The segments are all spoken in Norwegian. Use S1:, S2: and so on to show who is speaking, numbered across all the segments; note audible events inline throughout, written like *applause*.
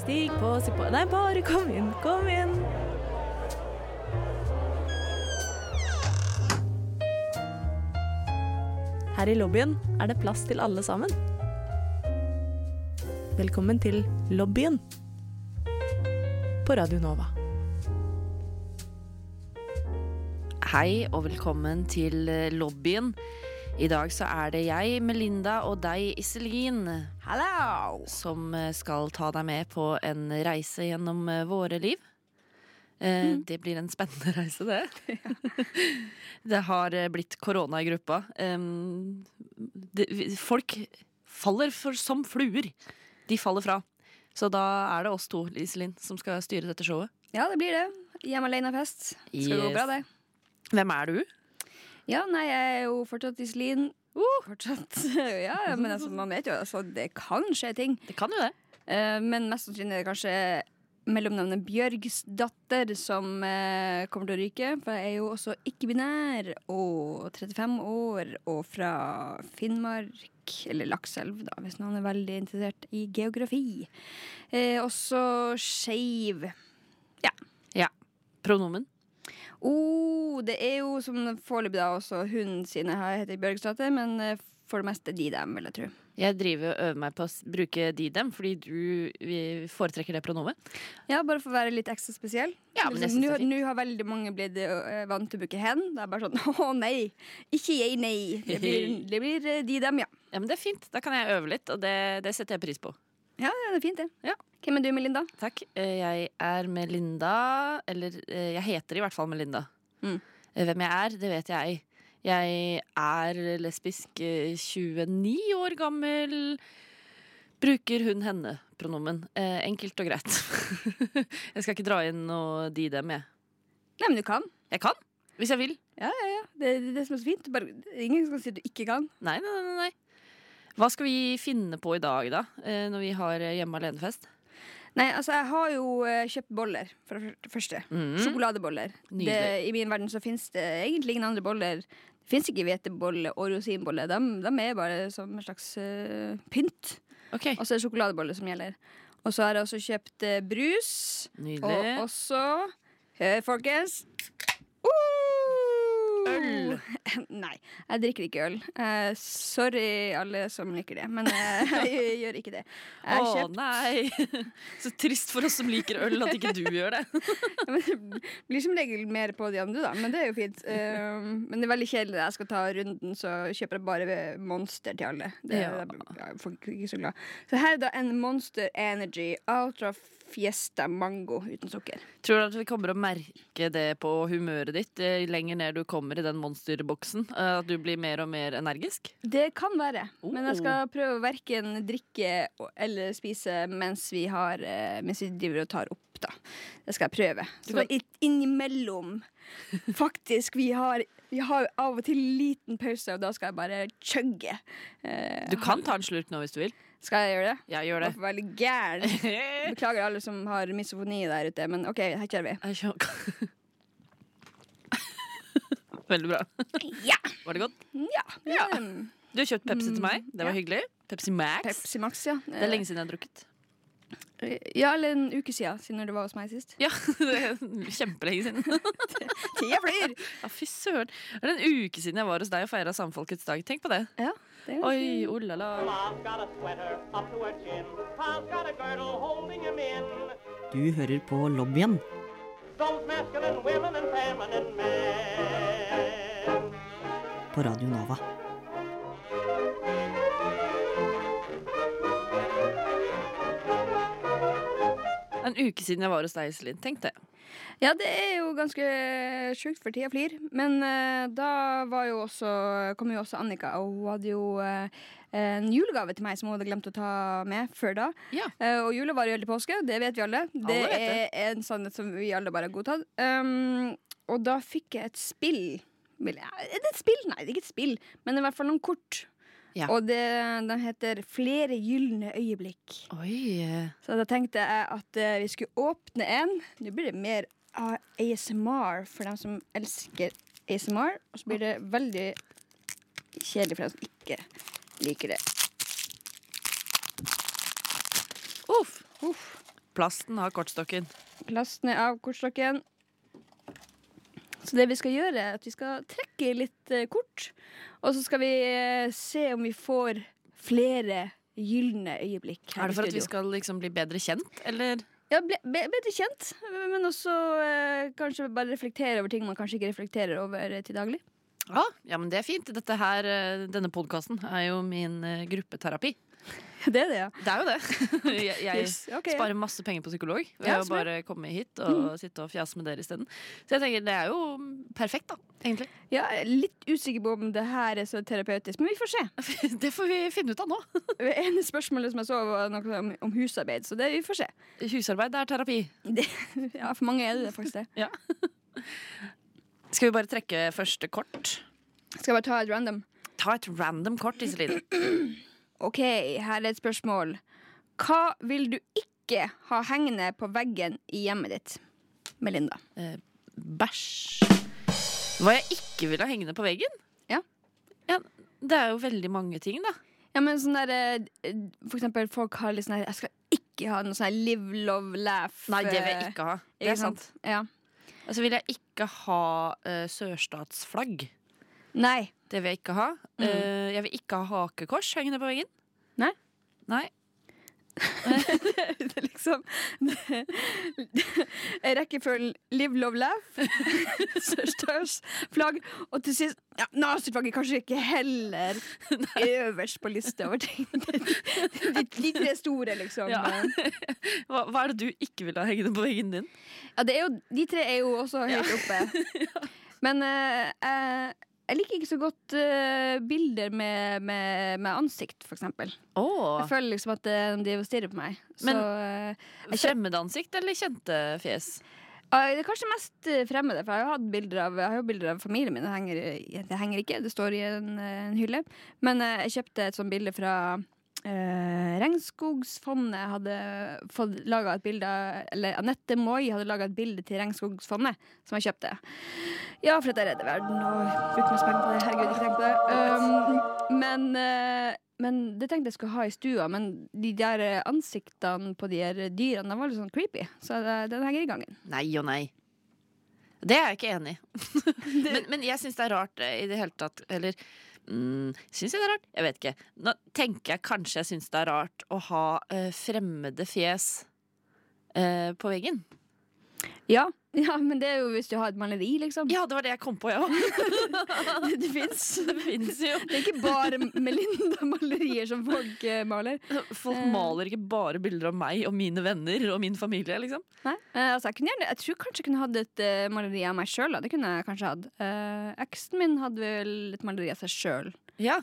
S1: Stig på, stig på Nei, bare kom inn, kom inn. Her i lobbyen er det plass til alle sammen. Velkommen til lobbyen på Radio Nova.
S2: Hei og velkommen til eh, lobbyen. I dag så er det jeg, Melinda, og deg, Iselin,
S1: Hallo!
S2: som eh, skal ta deg med på en reise gjennom eh, våre liv. Eh, Det blir en spennende *laughs* reise, det. det har eh, blitt korona i gruppa. Em, det, vi- folk faller for, som fluer. De faller fra. Så da er det oss to, Iselin, som skal styre dette showet.
S3: Ja, det blir det. Hjemme alene-fest. Skal gå
S2: Yes.
S3: bra, det.
S2: Hvem er du?
S3: Ja, nei, jeg er jo fortsatt Iselin. Fortsatt. *laughs* ja, ja, men altså, man vet jo, altså, det kan skje ting.
S2: Det kan jo det.
S3: Eh, men mest sannsynlig er det kanskje mellomnavnet Bjørgs datter som eh, kommer til å ryke. For jeg er jo også ikke-binær og 35 år og fra Finnmark. Eller Lakselv, da, hvis noen er veldig interessert i geografi. Eh, også skeiv.
S2: Pronomen.
S3: Oh, det er jo som foreløpig da også hun sine her heter Bjørgsdatter, men eh, for det meste de dem, vil jeg tro.
S2: Jeg driver og øver meg på å s- bruke de dem, fordi du vi foretrekker det pronomet.
S3: Ja, bare for å være litt ekstra spesiell.
S2: Ja, men jeg
S3: Liksom,
S2: synes det er
S3: Nå nå har veldig mange blitt eh, vant til å bruke hen. Det er bare sånn *laughs* å nei, ikke jeg, nei. Det blir,
S2: *laughs*
S3: det blir eh, de dem, ja.
S2: Ja, men Det er fint. Da kan jeg øve litt, og det, det setter jeg pris på.
S3: Ja, ja, det er fint, det.
S2: Ja.
S3: Hvem er du, Melinda?
S2: Takk. Eh, Jeg er Melinda, eller eh, jeg heter i hvert fall Melinda.
S3: Mm.
S2: Eh, Hvem jeg er, det vet jeg. Jeg er lesbisk, eh, 29 år gammel. Bruker hun-henne-pronomen. Eh, Enkelt og greit. *laughs* jeg skal ikke dra inn noe de dem, jeg.
S3: Nei, men du kan.
S2: Jeg kan, hvis jeg vil.
S3: Ja, det er det, er det som er så fint. Bare, det er ingen som kan si at du ikke kan.
S2: Nei, nei, nei, nei. Hva skal vi finne på i dag, da? eh, Når vi har eh, hjemme alene-fest?
S3: Nei, altså, jeg har jo eh, kjøpt boller, for det første.
S2: Mm.
S3: Sjokoladeboller.
S2: Nydelig.
S3: Det, I min verden så fins det egentlig ingen andre boller. Det fins ikke hvetebolle og rosinbolle. De, er bare som en slags eh, pynt.
S2: Ok,
S3: Og så er det sjokoladebolle som gjelder. Og så har jeg også kjøpt eh, brus.
S2: nydelig.
S3: Og også Hør, folkens. Oh!
S2: Øl.
S3: *laughs* Nei, jeg drikker ikke øl. Eh, sorry, alle som liker det, men eh, *laughs* jeg gjør ikke det. Jeg
S2: Å
S3: har kjøpt
S2: nei! *laughs* Så trist for oss som liker øl at ikke du gjør det.
S3: Ja, men det *laughs* blir som regel mer på de andre, da. Men det er jo fint. Um, men det er veldig kjedelig. når Jeg skal ta runden, så kjøper jeg bare Monster til alle. Det,
S2: Ja.
S3: det er folk er ikke så glad. Så her er da en Monster Energy Ultra Fiesta Mango uten sukker.
S2: *laughs* Tror du at vi kommer å merke det på humøret ditt eh, lenger ned du kommer i den monsterboksen? eh, At du blir mer og mer energisk?
S3: Det kan være, men jeg
S2: Oh.
S3: skal prøve å verken drikke og- eller spise mens vi, har, eh, mens vi driver og tar opp, da. Det skal jeg prøve.
S2: Du
S3: Så i- innimellom, faktisk, vi har, vi har av og til liten pause, og da skal jeg bare chugge. Eh,
S2: Du kan ta en slurk nå hvis du vil.
S3: skal jeg gjøre det?
S2: Jeg gjør
S3: Jeg
S2: det.
S3: får veldig gæren.
S2: *laughs* Jeg
S3: Beklager alle som har misofoni der ute, men OK, her kjører vi.
S2: kjører. *laughs* Veldig bra.
S3: Ja!
S2: Var det godt?
S3: ja.
S2: Ja.
S3: Mm.
S2: Du har kjøpt Pepsi til meg. Det var
S3: ja.
S2: hyggelig. Pepsi Max.
S3: Pepsi Max, ja. Eh,
S2: Det er lenge siden jeg har drukket.
S3: Ja, eller en uke siden, siden du var hos meg sist.
S2: Ja, *laughs* det er Kjempelenge siden.
S3: Tida flyr!
S2: Ja, Fy søren. Det er en uke siden jeg var hos deg og feira Samfolkets dag. Tenk på det.
S3: Ja, det er
S2: Oi, oh la la.
S4: Ma's got a sweater up to her chin. Pa's got a girdle holding him in.
S5: Du hører på lobbyen.
S4: Those masculine women and feminine men.
S5: på Radio Nova.
S2: En uke siden jeg var hos deg, Iselin. Tenk det.
S3: Ja, det er jo ganske sjukt, for tida flyr. Men eh, da var jo også, kom jo også Annika, og hun hadde jo eh, en julegave til meg som hun hadde glemt å ta med før da.
S2: Ja.
S3: Eh, og jula varer jo helt til påske, det vet vi alle. Det
S2: vet
S3: er
S2: det.
S3: en sannhet som vi alle bare har godtatt. Um, og da fikk jeg et spill. Vil jeg- Er det et spill? Nei, det er ikke et spill, men i hvert fall noen kort.
S2: Ja.
S3: Og det, den heter Flere gylne øyeblikk.
S2: Oi. eh.
S3: Så da tenkte jeg at eh, vi skulle åpne en. Nå blir det mer A- ASMR for dem som elsker ASMR. Og så blir det veldig kjedelig for dem som ikke liker det. Uff.
S2: Plasten har kortstokken.
S3: Lasten er av kortstokken. Så det vi skal gjøre, er at vi skal trekke litt eh, kort. Og så skal vi eh, se om vi får flere gylne øyeblikk. her
S2: Er det for
S3: i
S2: at vi
S3: studio.
S2: skal liksom bli bedre kjent, eller?
S3: Ja, ble, ble, Bedre kjent, men også eh, kanskje bare reflektere over ting man kanskje ikke reflekterer over eh, til daglig.
S2: Ja, ja men det er fint. Dette her, eh, denne podkasten er jo min eh, gruppeterapi.
S3: Det er det, ja.
S2: Det er jo det. *laughs* Jeg, jeg
S3: Yes, ok, ja.
S2: sparer masse penger på psykolog ved
S3: Ja,
S2: å
S3: smart.
S2: bare komme hit og sitte og fjase med dere isteden. Så jeg tenker det er jo perfekt, da. Egentlig.
S3: Ja, jeg er litt usikker på om det her er så terapeutisk, men vi får se.
S2: *laughs* Det får vi finne ut av nå.
S3: Det ene spørsmålet som jeg så, var noe om, om husarbeid, så det vi får se.
S2: *laughs* Husarbeid er terapi.
S3: Ja, For mange er det det faktisk det.
S2: Skal vi bare trekke første kort?
S3: Skal jeg bare ta et random?
S2: Ta et random kort, Iselin.
S3: OK, her er et spørsmål. Hva vil du ikke ha hengende på veggen i hjemmet ditt? Melinda.
S2: Bæsj. Hva jeg ikke vil ha hengende på veggen?
S3: Ja.
S2: ja. Det er jo veldig mange ting, da.
S3: Ja, men sånn der, eh, For eksempel, folk har litt sånn her Jeg skal ikke ha noe sånn her live, love, laugh.
S2: Nei, det vil jeg ikke ha.
S3: eh,
S2: Det
S3: ikke
S2: er sant.
S3: Ja.
S2: Og så vil jeg ikke ha eh, sørstatsflagg.
S3: Nei.
S2: Det vil jeg ikke ha. Eh, jeg vil ikke ha hakekors hengende på veggen.
S3: Nei.
S2: Nei.
S3: Det er *laughs* liksom Jeg rekker for live, love, laugh. *laughs* Sørstørs flagg. Og til sist ja, Naziflagget kanskje ikke heller
S2: *laughs*
S3: øverst på lista over ting. *laughs* De, de tre store, liksom.
S2: Ja.
S3: Ja.
S2: Hva, hva er det du ikke vil ha hengende på veggen din?
S3: *laughs* Ja, det er jo, de tre er jo også høyt
S2: *laughs*
S3: oppe. Men eh, jeg- jeg liker ikke så godt eh, bilder med, med, med ansikt, for eksempel. Jeg
S2: Oh,
S3: føler liksom at eh, de driver og stirrer på meg. Så
S2: Men-
S3: eh,
S2: Fremmedansikt eller kjente fjes?
S3: ja, Ah, det er kanskje mest eh, fremmede, for jeg har, jo hatt bilder av, jeg har jo bilder av familien min. Det henger, i- det henger ikke, det står i en, eh, en hylle. Men eh, jeg kjøpte et sånt bilde fra eh, Regnskogsfondet hadde fått laga et bilde av- Eller Anette Moi hadde laga et bilde til Regnskogsfondet, som jeg kjøpte. Ja, for at jeg redder verden og bruker masse penger på det. Herregud, ikke tenk på det. Um, men, eh, men det tenkte jeg skulle ha i stua, men de der eh, ansiktene på de her dyrene de var litt sånn creepy, så det- den henger i gangen.
S2: Nei og nei. Det er jeg ikke enig i. *laughs* men, men jeg syns det er rart eh, i det hele tatt. Eller mm, syns jeg det er rart? Jeg vet ikke. Nå tenker jeg kanskje jeg syns det er rart å ha eh, fremmede fjes eh, på veggen.
S3: Ja, ja, men det er jo hvis du har et maleri, liksom.
S2: Ja, det var det jeg kom på, jeg òg.
S3: det, det fins.
S2: *laughs* Det fins jo.
S3: Det er ikke bare Melinda-malerier som folk eh, maler.
S2: Folk maler ikke bare bilder av meg og mine venner og min familie. liksom
S3: Nei, eh, altså jeg, kunne gjerne, jeg tror kanskje jeg kunne hatt et eh, maleri av meg sjøl. Det kunne jeg kanskje hatt. Eh, eksen min hadde vel et maleri av seg sjøl.
S2: Ja,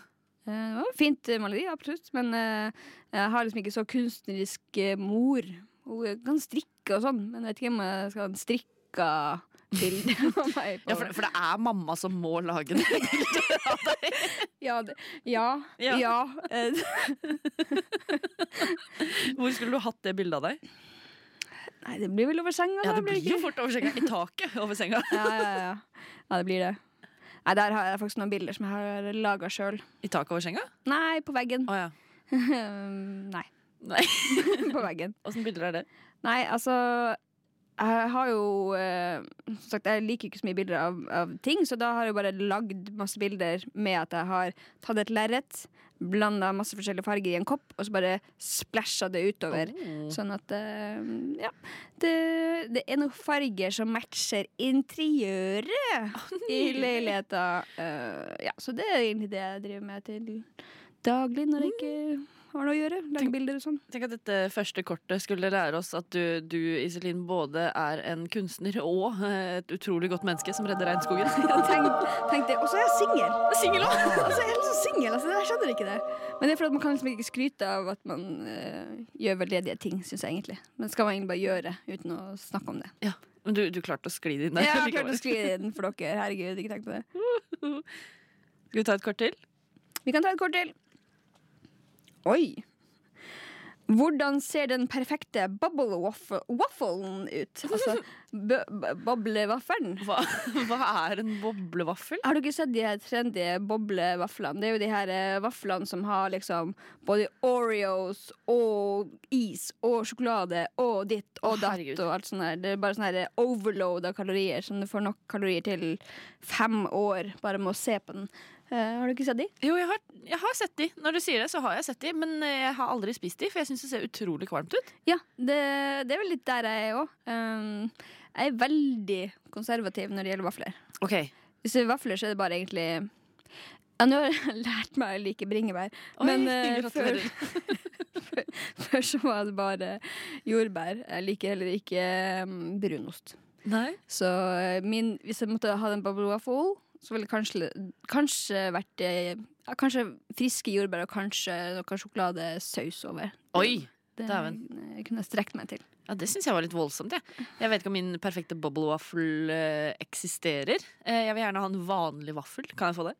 S3: Eh, det var et fint eh, maleri, absolutt, men eh, jeg har liksom ikke så kunstnerisk eh, mor. Hun eh, kan strikke og sånn, men jeg vet ikke om jeg skal ha en strikka bilde av meg. På.
S2: for, for det er mamma som må lage det. *laughs*
S3: ja, det, ja,
S2: Ja.
S3: ja. eh,
S2: Hvor skulle du hatt det bildet av deg?
S3: nei, det blir vel over senga,
S2: Ja,
S3: da.
S2: Det blir
S3: ikke?
S2: jo fort over senga. I taket over senga.
S3: ja, ja, ja. ja, det blir det. Nei, der har jeg faktisk noen bilder som jeg har laga sjøl.
S2: I taket over senga?
S3: Nei, på veggen.
S2: Å ja.
S3: *laughs* Nei,
S2: Nei,
S3: *laughs* på veggen.
S2: Åssen bilder er det?
S3: Nei, altså jeg har jo eh, Som sagt, jeg liker ikke så mye bilder av, av ting, så da har jeg bare lagd masse bilder med at jeg har tatt et lerret, blanda masse forskjellige farger i en kopp, og så bare splæsja det utover. Sånn at eh, Ja. Det, det er noen farger som matcher interiøret i leiligheta. Eh, ja, så det er egentlig det jeg driver med til daglig når jeg ikke har noe å gjøre. Lage
S2: Tenk-
S3: bilder og sånn.
S2: Tenk at dette første kortet skulle lære oss at du, du Iselin, både er en kunstner og eh, et utrolig godt menneske som redder *laughs* regnskogen.
S3: Ja, tenk, tenk det. Og så er jeg singel!
S2: Singel òg!
S3: *laughs* Altså, jeg er liksom singel. Altså, jeg skjønner ikke det. Men det er fordi at man kan liksom ikke skryte av at man eh, gjør veldedige ting, syns jeg egentlig. Men det skal man egentlig bare gjøre uten å snakke om det.
S2: Ja. Men du, du klarte å skli det inn der.
S3: jeg har klart
S2: likevel.
S3: å skrive den for dere. Herregud, ikke tenk på det.
S2: Skal vi ta et kort til?
S3: Vi kan ta et kort til. Oi. Hvordan ser den perfekte bubble waffle, waffelen ut? Altså *laughs* b- b- boblevaffelen.
S2: Hva, *laughs* hva er en boblevaffel?
S3: Har du ikke sett de her trendy boblevaflene? Det er jo de her eh, vaflene som har liksom både Oreos og is og sjokolade og ditt og
S2: Å,
S3: datt
S2: herregud.
S3: og alt sånt der. Det er bare sånn her overload av kalorier som du får nok kalorier til fem år bare med å se på den. Eh, har du ikke sett de?
S2: Jo, jeg har, jeg har sett de. Når du sier det, så har jeg sett de, men eh, jeg har aldri spist de, for jeg syns det ser utrolig kvalmt ut.
S3: Ja, det, det er vel litt der jeg er òg. Um, jeg er veldig konservativ når det gjelder vafler.
S2: Ok,
S3: Hvis det er vafler, så er det bare egentlig ja, Nå har jeg *laughs* lært meg å like bringebær,
S2: Oi,
S3: men eh,
S2: *laughs*
S3: før,
S2: gratulerer.
S3: før så var det bare jordbær. Jeg liker heller ikke um, brunost.
S2: Nei.
S3: Så eh, min, hvis jeg måtte ha den bubble waffle, så ville det kanskje, kanskje vært eh, ja, Kanskje friske jordbær og kanskje noe sjokoladesaus over.
S2: Oi!
S3: Det
S2: Dæven.
S3: eh, kunne jeg strekt meg til.
S2: Ja, Det syns jeg var litt voldsomt. Jeg. jeg vet ikke om min perfekte bubble waffle eh, eksisterer. Eh, jeg vil gjerne ha en vanlig vaffel. Kan jeg få det?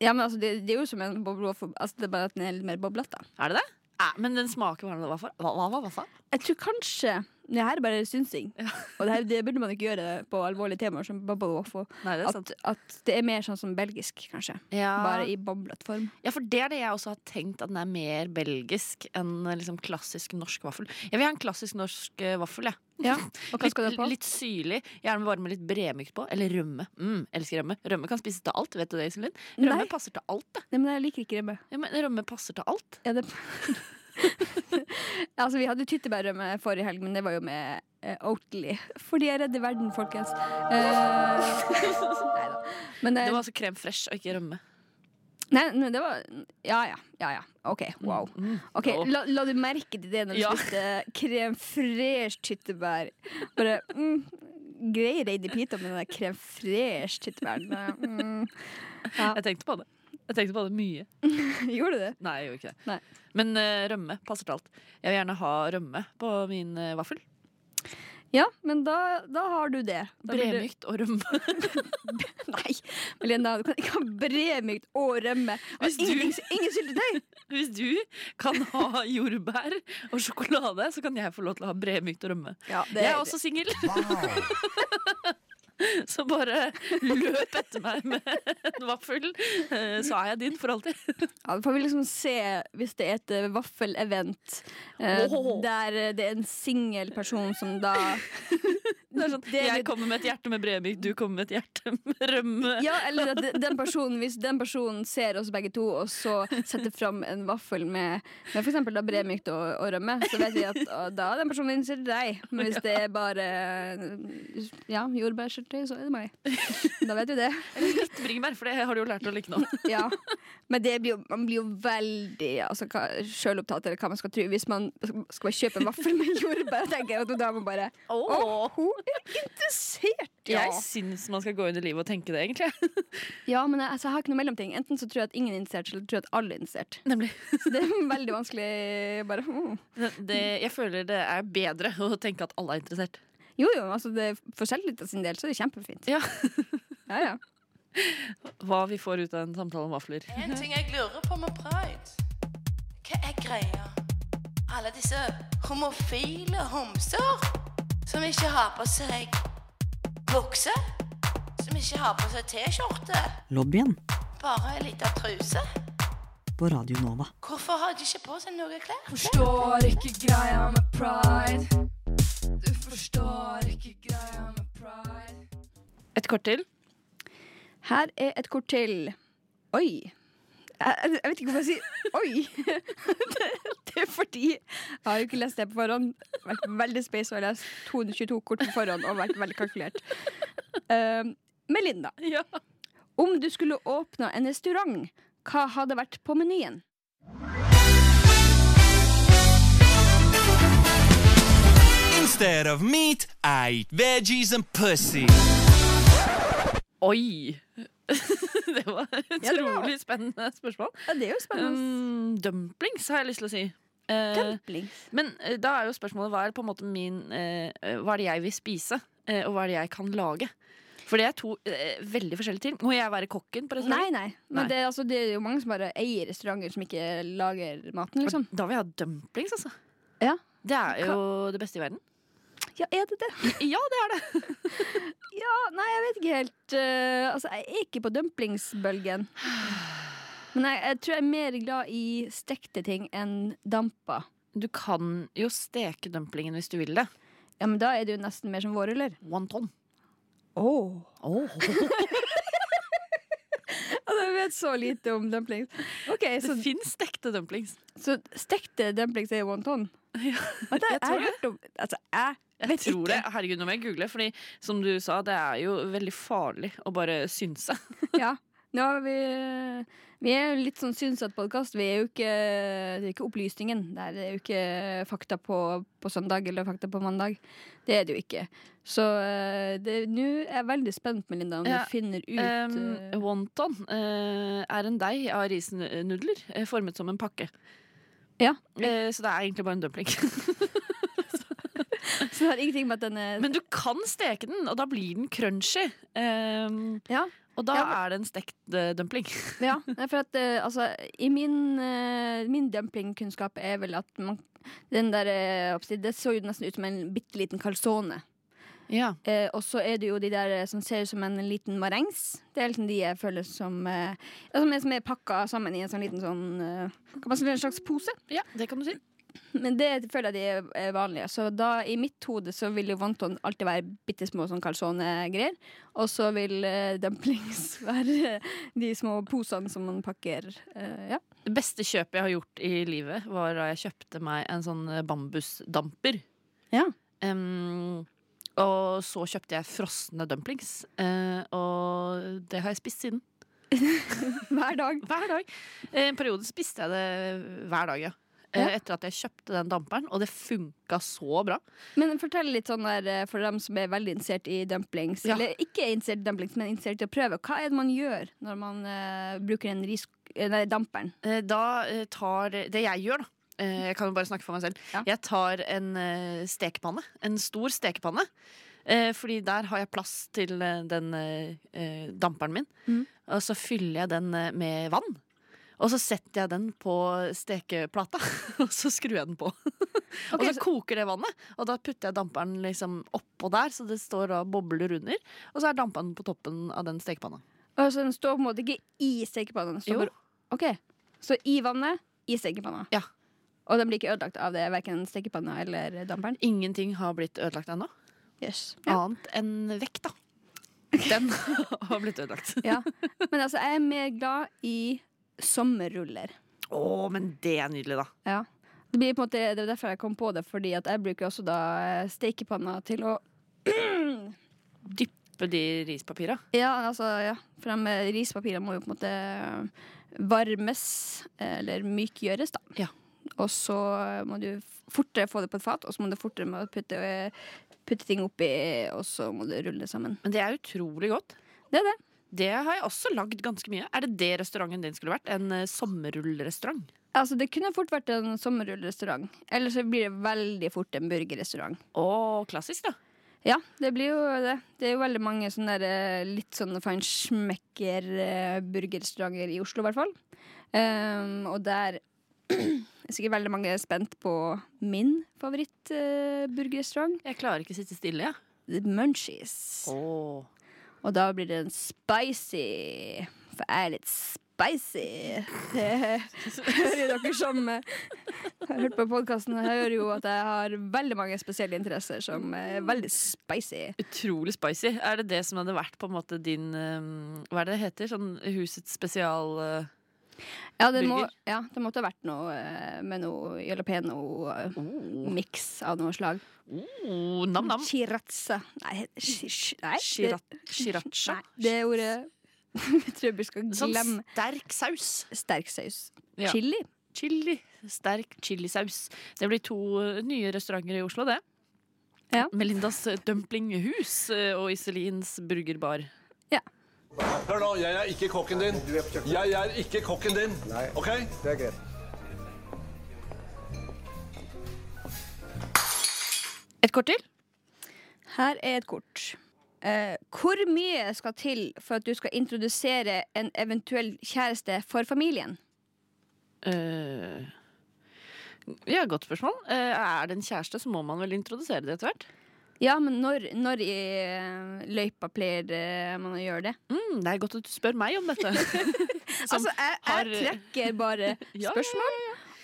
S3: Ja, men altså, det, det er jo som en boble waffle. Altså, det er bare at den er litt mer boblete.
S2: Er det det? Eh, men den smaker vanlig vaffel. Hva, hva, hva, hva?
S3: Jeg tror kanskje Det her er bare synsing. Og det, her, det burde man ikke gjøre på alvorlige temaer som boble waffle.
S2: Nei, det er sant.
S3: At, at det er mer sånn som belgisk, kanskje.
S2: Ja.
S3: Bare i boblet form.
S2: ja, for det er det jeg også har tenkt, at den er mer belgisk enn eh, liksom, klassisk norsk vaffel. Jeg vil ha en klassisk norsk eh, vaffel, jeg.
S3: Ja. Og hva skal du
S2: litt,
S3: ha på?
S2: litt syrlig. Gjerne bare med litt bremykt på. Eller rømme. Mm, elsker rømme. Rømme kan spises til alt, vet du det, Iselin? Rømme
S3: Nei.
S2: passer til alt, det.
S3: Nei, men jeg liker ikke rømme.
S2: Ja, men rømme passer til alt.
S3: Ja, det... *laughs* altså, vi hadde jo tyttebærrømme forrige helg, men det var jo med eh, Oatly. Fordi jeg redder verden, folkens.
S2: *laughs*
S3: Eh, neida. Men,
S2: Det
S3: eh,
S2: var altså krem fresh og ikke rømme.
S3: nei, men det var Ja ja. Ja ja. OK. Wow.
S2: Mm.
S3: Ok,
S2: Og-
S3: la, la du merke til det når du
S2: Ja.
S3: spiste krem fresh tyttebær? Bare mm, Grei Reidi Pita med den der krem fresh tyttebæren. Mm.
S2: Jeg tenkte på det. Jeg tenkte på det mye.
S3: Gjorde du det?
S2: Nei, jeg gjorde ikke det.
S3: Nei.
S2: Men eh, rømme passer til alt. Jeg vil gjerne ha rømme på min eh, vaffel.
S3: Ja, men da, da har du det. Da blir det-
S2: Bremykt og rømme.
S3: Nei, Melinda, du kan ikke ha bremykt og rømme.
S2: *laughs*
S3: Og
S2: Hvis du-
S3: ingenting- Ingen syltetøy!
S2: Hvis du kan ha jordbær og sjokolade, så kan jeg få lov til å ha bremykt og rømme.
S3: Ja, det,
S2: Jeg er også singel, *laughs* så bare løp etter meg med en vaffel, eh, så er jeg din for alltid.
S3: ja, da får vi liksom se hvis det er et eh, vaffelevent eh,
S2: Åhåhå.
S3: der eh, det er en singel person som da
S2: *laughs* Det er sånn,
S3: *laughs* Det er
S2: jeg
S3: litt-
S2: kommer med et hjerte med bremykt, du kommer med et hjerte med rømme.
S3: Ja, eller at den personen, hvis den personen ser oss begge to, og så setter fram en vaffel med, med f.eks. bremykt og, og rømme, så vet vi at å, da er den personen interessert i deg. Men hvis det er bare ja, jordbærsyltetøy, så er det meg. Da vet vi det.
S2: Litt bringebær, for det har du jo lært å like nå.
S3: Ja. Men det blir jo, man blir jo veldig altså, hva- sjølopptatt eller hva man skal tro. Hvis man skal bare kjøpe en vaffel med jordbær, tenker jeg, og da er man bare Å, hun er interessert, ja!
S2: Jeg syns man skal gå inn i livet og tenke det, egentlig. *laughs*
S3: Ja, men jeg, altså, jeg har ikke noe mellomting. Enten så tror jeg at ingen er interessert, eller så tror jeg at alle er interessert.
S2: Nemlig.
S3: Så det er *laughs* veldig vanskelig bare mm.
S2: Det, det- jeg føler det er bedre å tenke at alle er interessert.
S3: Jo jo, altså det, for selvtillit sin del så er det kjempefint.
S2: Ja.
S3: Ja, ja.
S2: *laughs* Hva vi får ut av en samtale om vafler.
S6: En
S7: Mhm.
S6: ting jeg lurer på med pride. Hva er greia? Alle disse homofile homser som ikke har på seg bukse. Som ikke har på seg T-skjorte,
S5: Lobbyen
S6: bare ei lita truse.
S5: på Radio Nova.
S6: Hvorfor har de ikke på seg noe klær?
S7: Forstår ikke greia med pride. Du forstår ikke greia med pride.
S2: Et kort til.
S3: Her er et kort til. Oi. Jeg, jeg vet ikke hvorfor jeg sier oi. *laughs* Det, det er fordi jeg har jo ikke lest det på forhånd. Vært veldig space og har lest 222 kort på forhånd og vært veldig kalkulert. Um, Melinda,
S2: Ja.
S3: om du skulle åpna en restaurant, hva hadde vært på menyen?
S8: Instead of meat, I eat veggies and pussy.
S2: Oi! *laughs* Det var et
S3: Ja, det var-
S2: utrolig spennende spørsmål.
S3: Ja, det er jo spennende.
S2: Um, dumplings har jeg lyst til å si. Eh,
S3: Dumplings.
S2: men eh, da er jo spørsmålet hva er på en måte min eh, Hva er det jeg vil spise, eh, og hva er det jeg kan lage? For det er to eh, veldig forskjellige ting. Må jeg være kokken på restaurant?
S3: Nei, nei.
S2: Nei.
S3: Men det, er altså, det er jo mange som bare eier restauranter som ikke lager maten, liksom.
S2: Da vil jeg ha dumplings, altså.
S3: Ja.
S2: Det er jo det beste i verden.
S3: Ja, er det det?
S2: Ja, det er det!
S3: Ja, nei, jeg vet ikke helt. eh, altså, jeg er ikke på dumplingsbølgen. Men jeg, jeg tror jeg er mer glad i stekte ting enn dampa.
S2: Du kan jo steke dumplingen hvis du vil det.
S3: Ja, men da er det jo nesten mer som *laughs* vårruller.
S2: Wonton.
S3: Oh.
S2: Oh.
S3: Jeg vet så lite om dumplings. Ok,
S2: Det
S3: så,
S2: fins stekte dumplings.
S3: så stekte dumplings er wonton? *laughs* Ja, det,
S2: jeg tror
S3: har hørt om Altså, jeg
S2: Jeg
S3: vet
S2: tror
S3: ikke.
S2: det. Herregud, nå må jeg google, Fordi som du sa, det er jo veldig farlig å bare synse.
S3: *laughs* Ja. Nå er vi, vi er jo litt sånn synsatt podkast. Vi er jo ikke, det er ikke opplysningen. Det er- det er jo ikke fakta på, på søndag eller fakta på mandag. Det er det jo ikke. Så eh, det- nå er jeg veldig spent, Melinda, om
S2: Ja,
S3: du finner ut eh,
S2: Um, wonton eh, er en deig av risnudler eh, formet som en pakke.
S3: Ja.
S2: Eh, så det er egentlig bare en dumpling.
S3: *laughs* Så det har ingenting med at den er
S2: oh. Men du kan steke den, og da blir den crunchy. Um,
S3: Ja.
S2: Og da
S3: Ja, men-
S2: er det en stekt eh, dumpling.
S3: Ja, nei, for at eh, altså, i min, eh, min dumplingkunnskap er vel at man, den der eh, oppsi- Det så jo nesten ut som en bitte liten calzone.
S2: Ja.
S3: Eh, og så er det jo de der eh, som ser ut som en liten marengs. Det er liksom de jeg føler som eh, ja, som, er, som er pakka sammen i en sånn liten sånn eh, Kan man si en slags pose?
S2: ja, det kan du si.
S3: Men det føler jeg de er, er vanlige. Så da, i mitt hode så vil jo wonton alltid være bitte små sånn calzone-greier. Og så vil eh, dumplings *laughs* være de små posene som man pakker. eh, ja.
S2: Det beste kjøpet jeg har gjort i livet, var da jeg kjøpte meg en sånn eh, bambusdamper.
S3: Ja.
S2: Em, og så kjøpte jeg frosne dumplings, eh, og det har jeg spist siden. *laughs*
S3: Hver dag.
S2: Hver dag. Eh, En periode spiste jeg det hver dag, ja. Eh, Etter at jeg kjøpte den damperen, og det funka så bra.
S3: Men fortell litt sånn der eh, for dem som er veldig interessert i dumplings.
S2: Ja.
S3: Eller ikke er interessert i dumplings, men interessert i å prøve. Hva er det man gjør når man eh, bruker den ris... eh, Nei, damperen.
S2: Eh, Da eh, tar Det jeg gjør, da. eh, Jeg kan jo bare snakke for meg selv.
S3: Ja.
S2: Jeg tar en eh, stekepanne. En stor stekepanne. Eh, Fordi der har jeg plass til eh, den eh, eh, damperen min.
S3: Mhm.
S2: Og så fyller jeg den eh, med vann. Og så setter jeg den på stekeplata, *laughs* og så skrur jeg den på. og
S3: Ok,
S2: så
S3: så-
S2: koker det vannet, og da putter jeg damperen liksom oppå der, så det står da bobler under. Og så er damperen på toppen av den stekepanna.
S3: Altså, den står på en måte ikke i stekepannen. den står
S2: Jo.
S3: bare- Ok, Så i vannet, i stekepanna.
S2: Ja.
S3: Og den blir ikke ødelagt av det, verken stekepanna eller damperen.
S2: Ingenting har blitt ødelagt ennå.
S3: Yes. Ja.
S2: annet enn vekt, da. Den *laughs* har blitt ødelagt. Å,
S3: *laughs* Ja. Men altså, jeg er mer glad i sommerruller.
S2: men det er nydelig, da.
S3: Ja. Det, blir på en måte, det er derfor jeg kom på det, fordi at jeg bruker også da eh, stekepanna til å
S2: Dyppe de rispapira.
S3: Ja, altså, ja. For de eh, rispapirene må jo på en måte eh, varmes, eh, eller mykgjøres, da.
S2: Ja.
S3: Og så eh, må du f- fortere få det på et fat, og så må du fortere med å putte, eh, putte ting oppi, og så må du rulle det sammen.
S2: Men det er utrolig godt.
S3: Det er det.
S2: Det har jeg også lagd ganske mye. Er det det restauranten din skulle vært? En eh, sommerrullrestaurant?
S3: Altså, det kunne fort vært en sommerrullrestaurant. Eller så blir det veldig fort en burgerrestaurant.
S2: Å, klassisk, da.
S3: Ja, det blir jo det. Det er jo veldig mange sånne der, eh, litt sånne feinschmecker-burgerrestauranter i Oslo, i hvert fall. Ehm, og der *clears throat* er sikkert veldig mange spent på min favoritt-burgerrestaurant,
S2: Jeg klarer ikke sitte stille, jeg.
S3: The Munchies.
S2: Å.
S3: Og da blir det en spicy, for jeg er litt spicy. *laughs* Det hører jo dere som eh, har hørt på podkasten, hører jo at jeg har veldig mange spesielle interesser som er veldig spicy.
S2: Utrolig spicy. Er det det som hadde vært på en måte din eh, Hva er det det heter? Sånn husets spesial... eh,
S3: Ja, det, må,
S2: Burger.
S3: ja, det måtte ha vært noe eh, med noe jalapeno-miks av noe slag.
S2: oh, Nam-nam.
S3: Chirazza. Nei, sh- sh- *laughs* nei, det-
S2: Shiracha.
S3: nei, det ordet *laughs* jeg tror jeg vi skal
S2: Sånn
S3: glemme.
S2: sterk saus.
S3: Sterk saus.
S2: Ja.
S3: Chili.
S2: Chili. Sterk chilisaus. Det blir to eh, nye restauranter i Oslo, det.
S3: Ja.
S2: Melindas eh, dumplingehus eh, og Iselins burgerbar.
S9: Hør nå, jeg er ikke kokken din. Jeg er ikke kokken din. OK? Det er greit.
S2: Et kort til?
S3: Her er et kort. Eh, Hvor mye skal til for at du skal introdusere en eventuell kjæreste for familien?
S2: Eh, ja, godt spørsmål. Eh, er det en kjæreste, så må man vel introdusere det etter hvert.
S3: Ja, men når, når i eh, løypa pleier eh, man å gjøre det?
S2: Mm, det er godt at du spør meg om
S3: *laughs*
S2: dette. Som
S3: altså, jeg, jeg
S2: har- eh,
S3: trekker bare
S2: Ja,
S3: spørsmål,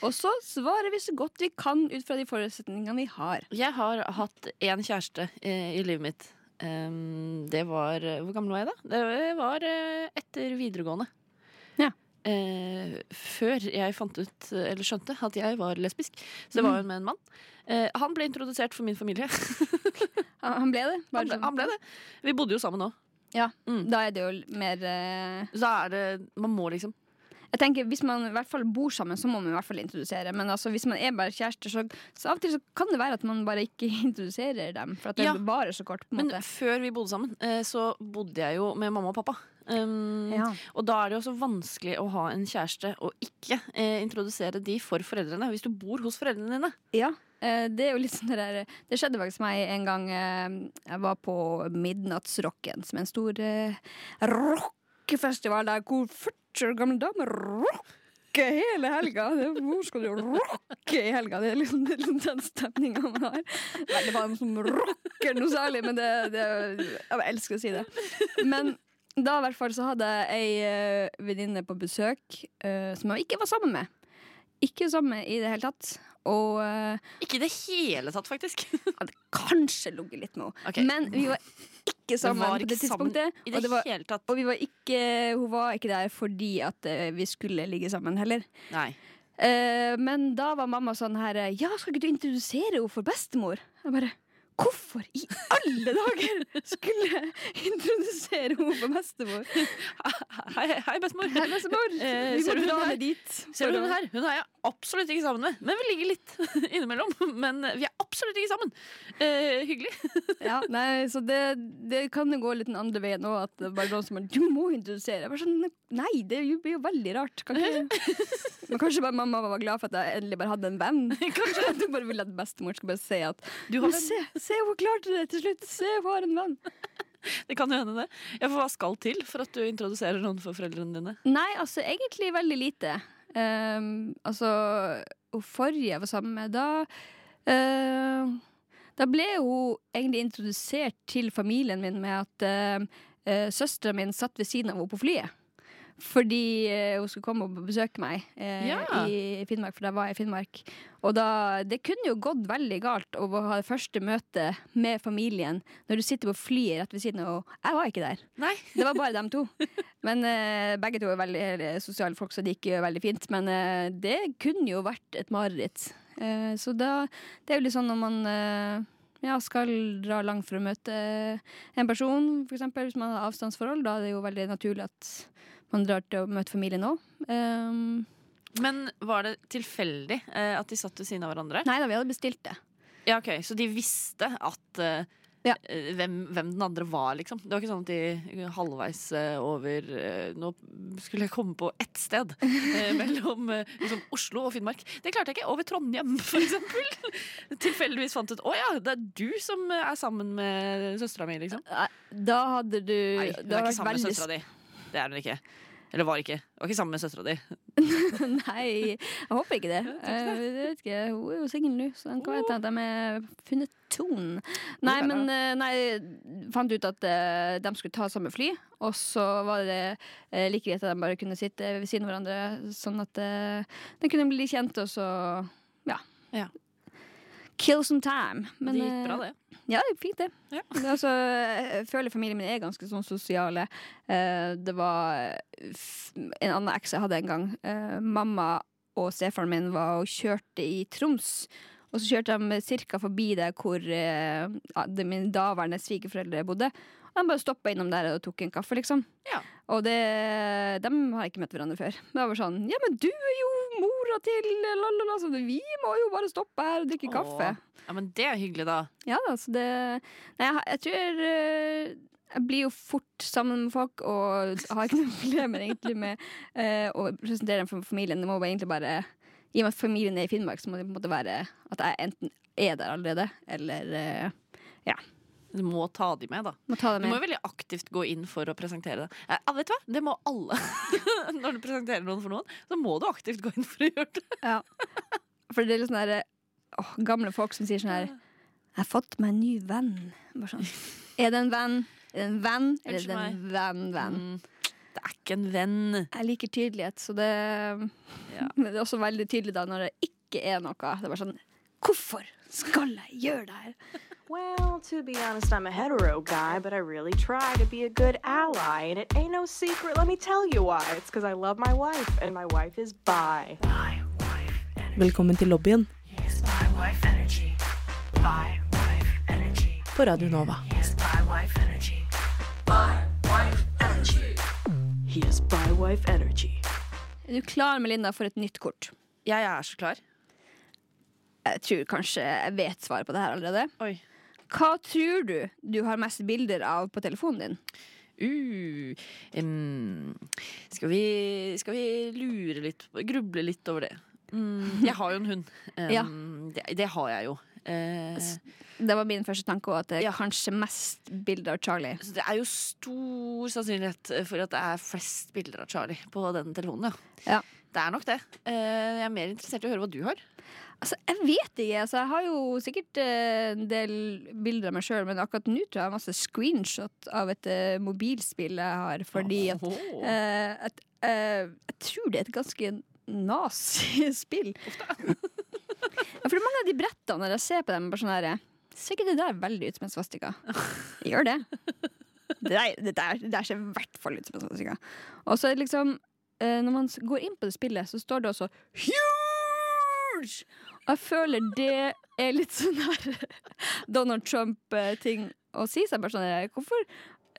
S3: og så svarer vi så godt vi kan ut fra de forutsetningene vi har.
S2: Jeg har hatt én kjæreste eh, i livet mitt. Em, det var eh, Hvor gammel var jeg da? Det var eh, etter videregående.
S3: Ja.
S2: Eh, før jeg fant ut, eller skjønte, at jeg var lesbisk. Så det
S3: Mhm.
S2: var jo med en mann. Eh, han ble introdusert for min familie.
S3: Han, han ble det. bare
S2: Han ble,
S3: sånn.
S2: han ble det. Vi bodde jo sammen òg.
S3: Ja,
S2: Mm.
S3: Da er det jo mer eh,
S2: Så da er det Man må liksom
S3: Jeg tenker Hvis man i hvert fall bor sammen, så må man i hvert fall introdusere. Men altså, hvis man er bare kjærester, så, så av og til så kan det være at man bare ikke *laughs* introduserer dem. For at det
S2: Ja.
S3: varer så kort. på en
S2: Men
S3: måte
S2: før vi bodde sammen, eh, så bodde jeg jo med mamma og pappa. Um,
S3: ja.
S2: Og da er det jo også vanskelig å ha en kjæreste og ikke eh, introdusere de for foreldrene. Hvis du bor hos foreldrene dine.
S3: Ja, eh, det er jo litt sånn det der Det skjedde faktisk meg en gang eh, jeg var på Midnattsrocken, som er en stor eh, rockefestival der hvor 40 år gamle damer rocker hele helga. Det er- Hvor skal du rocke i helga? Det er liksom, det er liksom den stemninga man har. Nei, det var noen som rocker noe særlig, men det, det Jeg elsker å si det. Men da i hvert fall så hadde jeg ei eh, venninne på besøk eh, som jeg ikke var sammen med. Ikke sammen med i det hele tatt. Og eh,
S2: Ikke i det hele tatt, faktisk.
S3: hadde kanskje ligget litt med henne.
S2: Ok.
S3: Men vi var ikke sammen
S2: var
S3: på det
S2: ikke sammen
S3: tidspunktet.
S2: I
S3: og,
S2: det,
S3: det var,
S2: hele tatt.
S3: og vi var ikke, hun var ikke der fordi at eh, vi skulle ligge sammen heller.
S2: Nei.
S3: Eh, men da var mamma sånn her eh, Ja, skal ikke du introdusere henne for bestemor? Jeg bare Hvorfor i alle dager skulle jeg introdusere henne for bestemor?
S2: *laughs* Hei, hei bestemor.
S3: Hei, bestemor.
S2: Eh,
S3: Vi
S2: ser du
S3: må
S2: hun
S3: dra
S2: her?
S3: ned dit.
S2: Ser du hun her? Hun er jeg absolutt ikke sammen med. Men vi ligger litt *laughs* innimellom. Men vi er absolutt ikke sammen. Eh, hyggelig.
S3: Ja, nei, så det, det kan jo gå litt den andre veien òg. At det er bare noen som er, du må introdusere. Jeg Bare sånn, nei, det er jo- blir jo veldig rart. Kan ikke... Men kanskje bare mamma var glad for at jeg endelig bare hadde en venn. Kanskje at hun bare ville at bestemor skulle bare se at
S2: Du
S3: Men se, se, hun klarte det til slutt! Se, hun har en venn!
S2: *laughs* Det kan jo hende, det. Ja, for hva skal til for at du introduserer noen for foreldrene dine?
S3: Nei, altså egentlig veldig lite. Ehm, altså, hun forrige jeg var sammen med, da ehm, Da ble hun egentlig introdusert til familien min med at um, søstera mi satt ved siden av henne på flyet. Fordi eh, hun skulle komme og besøke meg eh,
S2: Ja.
S3: i Finnmark, for da var jeg i Finnmark. Og da, det kunne jo gått veldig galt å ha det første møtet med familien når du sitter på flyet rett ved siden av henne. Jeg var ikke der.
S2: Nei.
S3: Det var bare dem to. Men eh, begge to er veldig eh, sosiale folk, så det gikk jo veldig fint. Men eh, det kunne jo vært et mareritt. Eh, så da, det er jo litt sånn når man eh, ja, skal dra langt for å møte eh, en person, f.eks. hvis man har avstandsforhold, da er det jo veldig naturlig at man drar til å møte familien Eh, òg.
S2: Men var det tilfeldig eh, at de satt ved siden av hverandre?
S3: nei da, vi hadde bestilt det.
S2: Ja, ok, Så de visste at eh,
S3: Ja.
S2: eh, hvem, hvem den andre var, liksom? Det var ikke sånn at de halvveis eh, over eh, Nå skulle jeg komme på ett
S3: *laughs*
S2: sted eh, mellom eh, liksom Oslo og Finnmark. Det klarte jeg ikke. Over Trondheim, *laughs* for eksempel. Tilfeldigvis fant ut Å ja, det er du som eh, er sammen med søstera mi, liksom.
S3: Nei, Da hadde du
S2: Nei, hun
S3: det
S2: er
S3: hadde vært
S2: ikke sammen med
S3: veldig
S2: søstera di. Det er hun ikke. Eller var ikke. Hun var ikke sammen med søstera di.
S3: *laughs* Nei, jeg håper ikke det. Eh, Jeg vet ikke, Hun er jo singel nå, så den kan hende at de har funnet tonen.
S2: Oh la
S3: Nei,
S2: la.
S3: men eh, nei, fant ut at eh, de skulle ta samme fly, og så var det eh, like greit at de bare kunne sitte ved siden av hverandre, sånn at eh, de kunne bli kjent, og så ja.
S2: Ja.
S3: Kill some time. Men,
S2: det gikk bra,
S3: eh,
S2: det.
S3: ja, det er fint det.
S2: Ja.
S3: Men altså, jeg føler familien min er ganske sånn sosiale. Eh, det var f- en annen eks jeg hadde en gang. Eh, mamma og stefaren min var og kjørte i Troms. Og så kjørte de cirka forbi der hvor eh, ja, det- mine daværende svigerforeldre bodde. Og de bare stoppa innom der og tok en kaffe, liksom.
S2: Ja.
S3: Og det, de har ikke møtt hverandre før. Men det var sånn Ja, men du er jo mora til la, la, la, så vi må jo bare stoppe her og drikke
S2: Åh.
S3: kaffe.
S2: Ja, men det er hyggelig, da.
S3: Ja da, så det Nei, jeg, har- jeg tror eh, Jeg blir jo fort sammen med folk og har ikke noen *laughs* problemer egentlig med eh, å presentere dem for familien. Det må bare egentlig bare I og med at familien er i Finnmark, så må det på en måte være at jeg enten er der allerede, eller eh,
S2: Du må ta de med, da.
S3: Må ta
S2: Du
S3: det
S2: må
S3: med.
S2: jo veldig aktivt gå inn for å presentere det. Eh, ah, vet du hva? Det må alle. *laughs* Når du presenterer noen for noen, så må du aktivt gå inn for å gjøre det.
S3: Ja. For det er litt sånn der åh, gamle folk som sier sånn her Jeg har fått meg en ny venn. Bare sånn. Er det en venn? Er det en venn? Eller er det en venn, venn?
S2: Mm. Det er ikke en venn.
S3: Jeg liker tydelighet, så det
S2: Ja.
S3: Men *laughs* det er også veldig tydelig da når det ikke er noe. Det er bare sånn Hvorfor skal jeg gjøre det her?
S10: Well, to be honest, I'm a hetero guy, but I really try to be a good ally, and it ain't no secret. Let me tell you why. It's because I love my wife, and my wife is bi.
S11: Velkommen til lobbyen på Radio Nova.
S10: He is bi wife energy.
S3: Er du klar, Melinda, for et nytt kort?
S2: Jeg er så klar.
S3: Jeg tror kanskje jeg vet svaret på det her allerede.
S2: Oi.
S3: Hva tror du du har mest bilder av på telefonen din?
S2: Uh, em, skal, vi, skal vi lure litt, gruble litt over det? Mm, jeg har jo en hund. Em,
S3: Ja.
S2: det, det har jeg jo. Eh,
S3: Det var min første tanke også, at det er kanskje mest bilder av Charlie.
S2: så det er jo stor sannsynlighet for at det er flest bilder av Charlie på den telefonen.
S3: Ja.
S2: Det er nok det. Eh, jeg er mer interessert i å høre hva du har.
S3: Altså, jeg vet ikke. Altså, jeg har jo sikkert eh, en del bilder av meg sjøl, men akkurat nå tror jeg jeg har masse screenshot av et eh, mobilspill jeg har. Fordi at,
S2: Åhå.
S3: eh, at eh, Jeg tror det er et ganske nazi spill. *laughs* ja, for det er mange av de brettene når jeg ser på dem, bare sånn her Ser ikke det der veldig ut som en svastika? Gjør det. Det der, det der, det der ser i hvert fall ut som en svastika. Og så er det liksom eh, Når man s- går inn på det spillet, så står det også Huge! Og jeg føler det er litt sånn her *laughs* Donald Trump-ting å si. Så jeg bare sånn her, Hvorfor,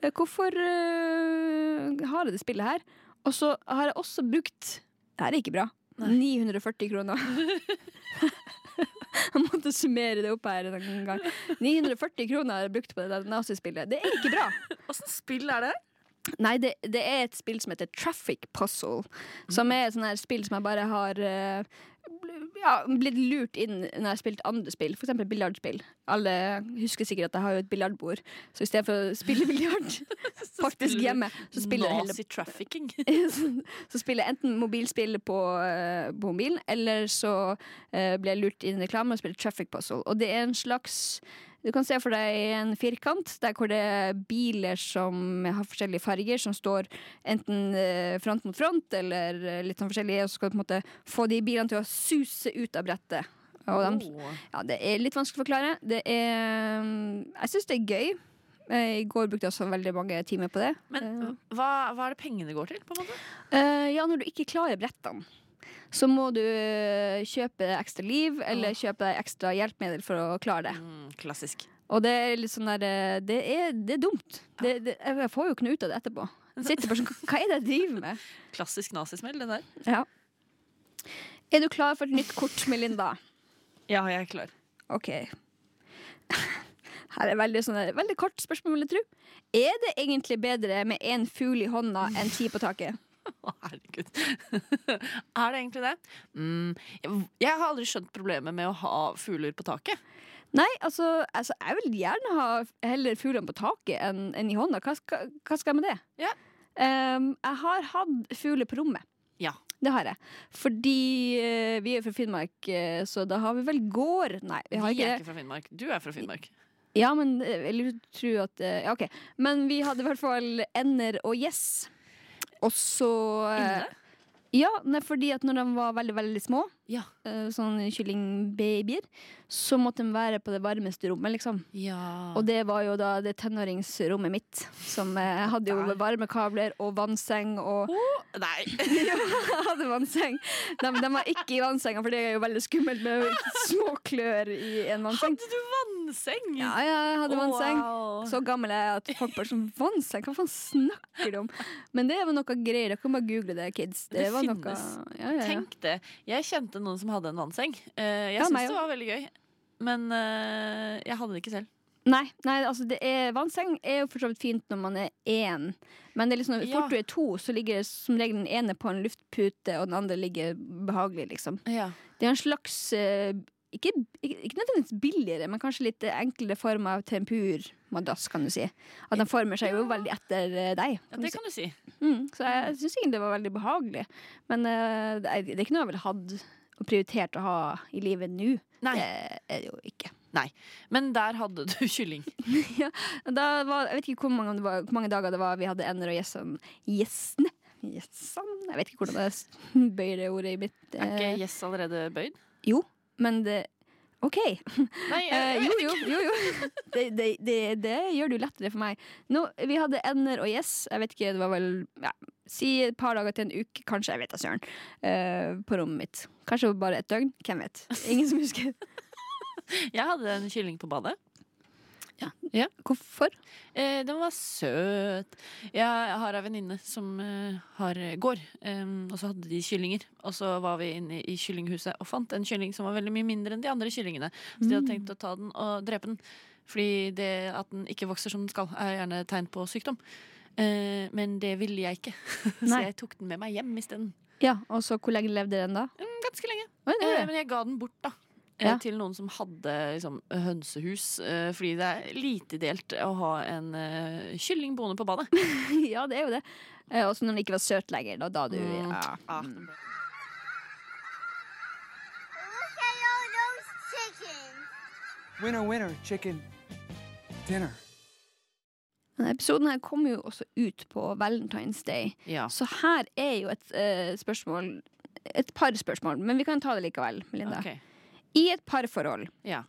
S3: eh, hvorfor eh, har jeg det spillet her? Og så har jeg også brukt Det her er ikke bra. 940 kroner. *laughs* Jeg måtte summere det opp her en gang. 940 kroner har jeg brukt på det der nazispillet. Det er ikke bra.
S2: Åssen spill er det?
S3: Nei, det, det er et spill som heter Traffic Puzzle. Som er et sånt her spill som jeg bare har eh, bl- ja, blitt lurt inn når jeg har spilt andre spill. For eksempel biljardspill. Alle husker sikkert at jeg har jo et biljardbord. Så i stedet for å spille *laughs* biljard faktisk hjemme, så spiller jeg heller
S2: Nazi-trafficking.
S3: *laughs* så spiller jeg enten mobilspill på, eh, på mobilen, eller så eh, blir jeg lurt inn i reklame og spiller Traffic Puzzle. Og det er en slags Du kan se for deg en firkant der hvor det er biler som har forskjellige farger, som står enten eh, front mot front, eller eh, litt sånn forskjellige, og så skal du på en måte få de bilene til å suse ut av brettet. Og
S2: *laughs*
S3: de,
S2: Oh.
S3: ja, det er litt vanskelig å forklare. Det er, mm, jeg syns det er gøy. Eh, I går brukte jeg også veldig mange timer på det.
S2: Men
S3: Eh,
S2: hva, hva er det pengene går til? på en måte?
S3: Eh, ja, når du ikke klarer brettene, så må du eh, kjøpe ekstra liv eller kjøpe deg ekstra hjelpemiddel for å klare det.
S2: Mm, klassisk.
S3: Og det er litt sånn der eh, Det er, det er dumt. Det, det, jeg får jo ikke noe ut av det etterpå. Jeg Sitter bare sånn Hva er det jeg driver med?
S2: Klassisk nazismell, det der.
S3: Ja. Er du klar for et nytt kort, Melinda?
S2: Ja, jeg er klar.
S3: OK. Her er veldig, sånn, veldig kort spørsmål, vil jeg tro. Er det egentlig bedre med én fugl i hånda enn ti på taket?
S2: *laughs* Å, herregud. *laughs* er det egentlig det? Mm, jeg, jeg har aldri skjønt problemet med å ha fugler på taket.
S3: Nei, altså, altså jeg vil gjerne ha heller fuglene på taket enn enn i hånda. Hva skal, hva skal jeg med det?
S2: Ja.
S3: Ehm, jeg har hatt fugler på rommet.
S2: Ja.
S3: Det har jeg. Fordi eh, vi er fra Finnmark, eh, så da har vi vel gård Nei, vi
S2: Vi
S3: har ikke
S2: er
S3: det.
S2: ikke fra Finnmark. Du er fra Finnmark.
S3: Ja, men eh, jeg lurer- tror at eh, Ja, OK. Men vi hadde i hvert fall ender og gjess. Og så eh,
S2: Inne?
S3: Ja, nei, fordi at når de var veldig, veldig små,
S2: Ja.
S3: eh, sånn kyllingbabyer, så måtte de være på det varmeste rommet, liksom.
S2: Ja.
S3: Og det var jo da det tenåringsrommet mitt. Som eh, jeg hadde jo varmekabler og vannseng og *laughs*
S2: Nei.
S3: Jeg hadde vannseng. De, de var ikke i vannsenga, for det er jo veldig skummelt med små klør i en vannseng.
S2: Hadde du vannseng?
S3: Ja, ja, jeg hadde vannseng.
S2: Wow.
S3: Så gammel er jeg at folk bare sånn Vannseng, hva faen snakker du om? Men det var noe greier. Dere kan bare google det, kids. Det,
S2: Det
S3: var noe
S2: finnes.
S3: ja, ja, ja.
S2: Tenk det. Jeg kjente noen som hadde en vannseng. Eh, jeg
S3: Ja,
S2: syntes det
S3: meg også.
S2: var veldig gøy. Men eh, jeg hadde det ikke selv.
S3: Nei, nei, altså det er vannseng er jo for så vidt fint når man er én. Men det er liksom, når
S2: Ja.
S3: fort du er to, så ligger som regel den ene på en luftpute, og den andre ligger behagelig, liksom.
S2: Ja.
S3: Det er en slags eh, ikke, ikke, ikke nødvendigvis billigere, men kanskje litt enklere form av tempur madass, kan du si. At den former seg jo veldig etter eh, deg.
S2: Ja, det kan du si.
S3: Mm, så jeg syns egentlig det var veldig behagelig. Men eh, det er det er ikke noe jeg ville hatt og prioritert å ha i livet nå. Det er det jo ikke.
S2: Nei. Eh, Men der hadde du kylling.
S3: Da var, jeg vet ikke hvor mange, det var, hvor mange dager det var vi hadde ender og gjessen. Gjessene? Gjessan? Jeg vet ikke hvordan jeg s- bøyer det ordet i mitt
S2: Er ikke
S3: eh,
S2: gjess allerede bøyd?
S3: Jo, men det OK.
S2: Nei,
S3: Eh,
S2: jeg-
S3: jo, jo, jo. jo. Det, det, det, det gjør det jo lettere for meg. Nå, vi hadde ender og gjess. Jeg vet ikke, det var vel ja, Si et par dager til en uke, kanskje. Jeg vet da søren. eh, på rommet mitt. Kanskje bare et døgn. Hvem vet. Ingen som husker.
S2: *laughs* Jeg hadde en kylling på badet.
S3: Hvorfor?
S2: Eh, den var søt. Jeg har ei venninne som eh, har gård, em, og så hadde de kyllinger. Og så var vi inne i kyllinghuset og fant en kylling som var veldig mye mindre enn de andre kyllingene. Så de
S3: Mm.
S2: hadde tenkt å ta den og drepe den. Fordi det at den ikke vokser som den skal, er gjerne et tegn på sykdom. Eh, men det ville jeg ikke, *laughs* så
S3: Nei.
S2: jeg tok den med meg hjem isteden.
S3: Ja, og så hvor lenge levde den da?
S2: Ganske lenge.
S3: Oi, det
S2: Eh,
S3: er-
S2: men jeg ga den bort, da.
S3: Ja.
S2: Eh, Til noen som hadde liksom, hønsehus. eh, Fordi det er lite delt å ha en eh, kylling boende på badet.
S3: *laughs* *laughs* ja, det er jo det. Eh, også når den ikke var søt lenger. Da, da du ja. Mm.
S12: Winner, winner, chicken dinner.
S3: Denne episoden her kom jo også ut på Valentine's Day. Så her er jo et eh, spørsmål Et par spørsmål, men vi kan ta det likevel, Melinda.
S2: Ok.
S3: I et parforhold,
S2: Ja.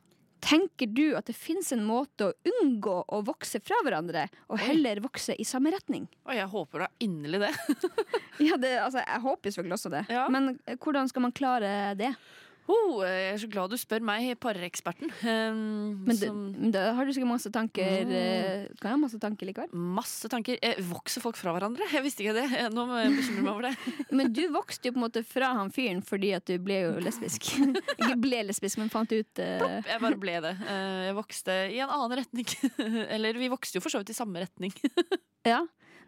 S3: tenker du at det fins en måte å unngå å vokse fra hverandre, og heller vokse i samme retning?
S2: Og jeg håper da inderlig det. *laughs*
S3: Ja, det, altså, jeg håper jo selvfølgelig også det. Men eh, hvordan skal man klare det?
S2: Oh, jeg er så glad du spør meg, pareksperten. Um,
S3: Men, det,
S2: som,
S3: men da har du sikkert masse tanker
S2: Mm.
S3: eh, Kan jeg ha masse tanker likevel?
S2: masse tanker. Eh, vokser folk fra hverandre? Jeg visste ikke det. *laughs* Eh, Nå må jeg bekymre meg *laughs* over det.
S3: Men du vokste jo på en måte fra han fyren fordi at du ble jo lesbisk. *laughs* Ikke ble lesbisk, men fant ut eh,
S2: Jeg bare ble det. Eh, jeg vokste i en annen retning. *laughs* Eller vi vokste jo for så vidt i samme retning.
S3: Ja.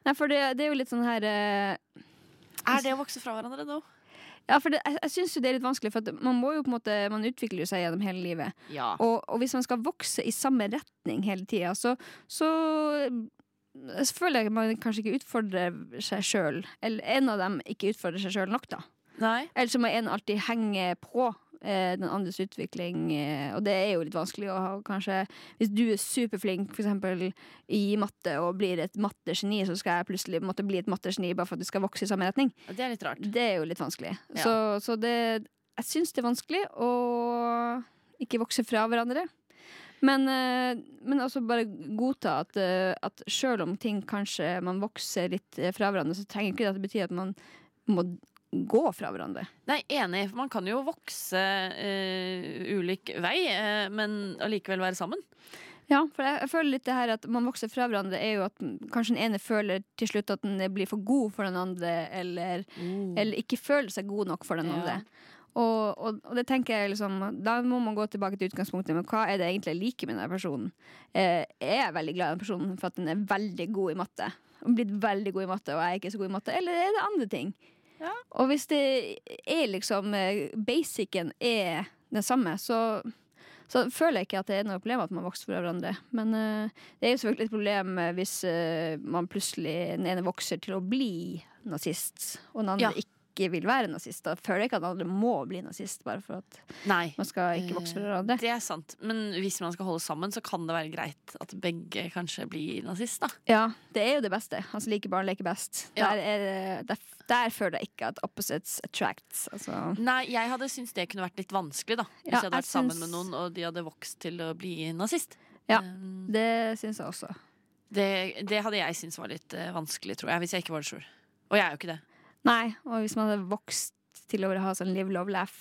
S3: Nei, for det, det er jo litt sånn her eh,
S2: *laughs* Er det å vokse fra hverandre nå?
S3: Ja, for det, jeg, jeg syns jo det er litt vanskelig, for at man må jo på en måte Man utvikler jo seg gjennom hele livet.
S2: Ja.
S3: Og, og hvis man skal vokse i samme retning hele tida, så, så eh, så føler jeg at man kanskje ikke utfordrer seg sjøl. Eller en av dem ikke utfordrer seg sjøl nok, da.
S2: Nei.
S3: Eller så må en alltid henge på eh, den andres utvikling, eh, og det er jo litt vanskelig å ha kanskje Hvis du er superflink for eksempel i matte og blir et mattegeni, så skal jeg plutselig måtte bli et mattegeni bare for at du skal vokse i samme retning.
S2: Det er litt rart.
S3: Det er jo litt vanskelig.
S2: Ja.
S3: Så, så det Jeg syns det er vanskelig å ikke vokse fra hverandre. Men, eh, men også bare godta at, eh, at sjøl om ting kanskje man vokser litt eh, fra hverandre, så trenger ikke det at det betyr at man må gå fra hverandre.
S2: Nei, enig. for Man kan jo vokse eh, ulik vei, eh, men allikevel være sammen.
S3: Ja, for jeg, jeg føler litt det her at man vokser fra hverandre, er jo at m- kanskje den ene føler til slutt at den blir for god for den andre, eller,
S2: Uh.
S3: eller ikke føler seg god nok for den
S2: Ja.
S3: andre. Og, og, og det tenker jeg liksom Da må man gå tilbake til utgangspunktet. Men hva er det egentlig jeg liker med den personen? Eh, er jeg veldig glad i den personen for at den er veldig god i matte? Og blitt veldig god i matte, og jeg er ikke så god i matte? Eller er det andre ting? Og hvis det er liksom eh, Basicen er den samme, så, så føler jeg ikke at det er noe problem at man vokser fra hverandre. Men eh, det er jo selvfølgelig et problem eh, hvis eh, man plutselig den ene vokser til å bli nazist, og den andre
S2: Ja.
S3: ikke vil være nazist. Da føler jeg ikke at den andre må bli nazist bare for at
S2: Nei.
S3: man skal ikke vokse fra hverandre.
S2: Eh, Det er sant. Men hvis man skal holde sammen, så kan det være greit at begge kanskje blir nazist, da.
S3: Ja, det er jo det beste. Altså like barn leker best.
S2: Ja.
S3: Der, er, det- der, der føler jeg ikke at opposites attracts. Altså.
S2: Nei, jeg hadde syntes det kunne vært litt vanskelig, da. Hvis
S3: Ja,
S2: jeg hadde
S3: jeg
S2: vært sammen
S3: syns-
S2: med noen, og de hadde vokst til å bli nazist. Eh,
S3: Ja, det syns jeg også.
S2: Det, det hadde jeg syntes var litt eh, vanskelig, tror jeg, hvis jeg ikke var det sjøl. Og jeg er jo ikke det.
S3: Nei, og hvis man hadde vokst til å ha sånn live, love, laugh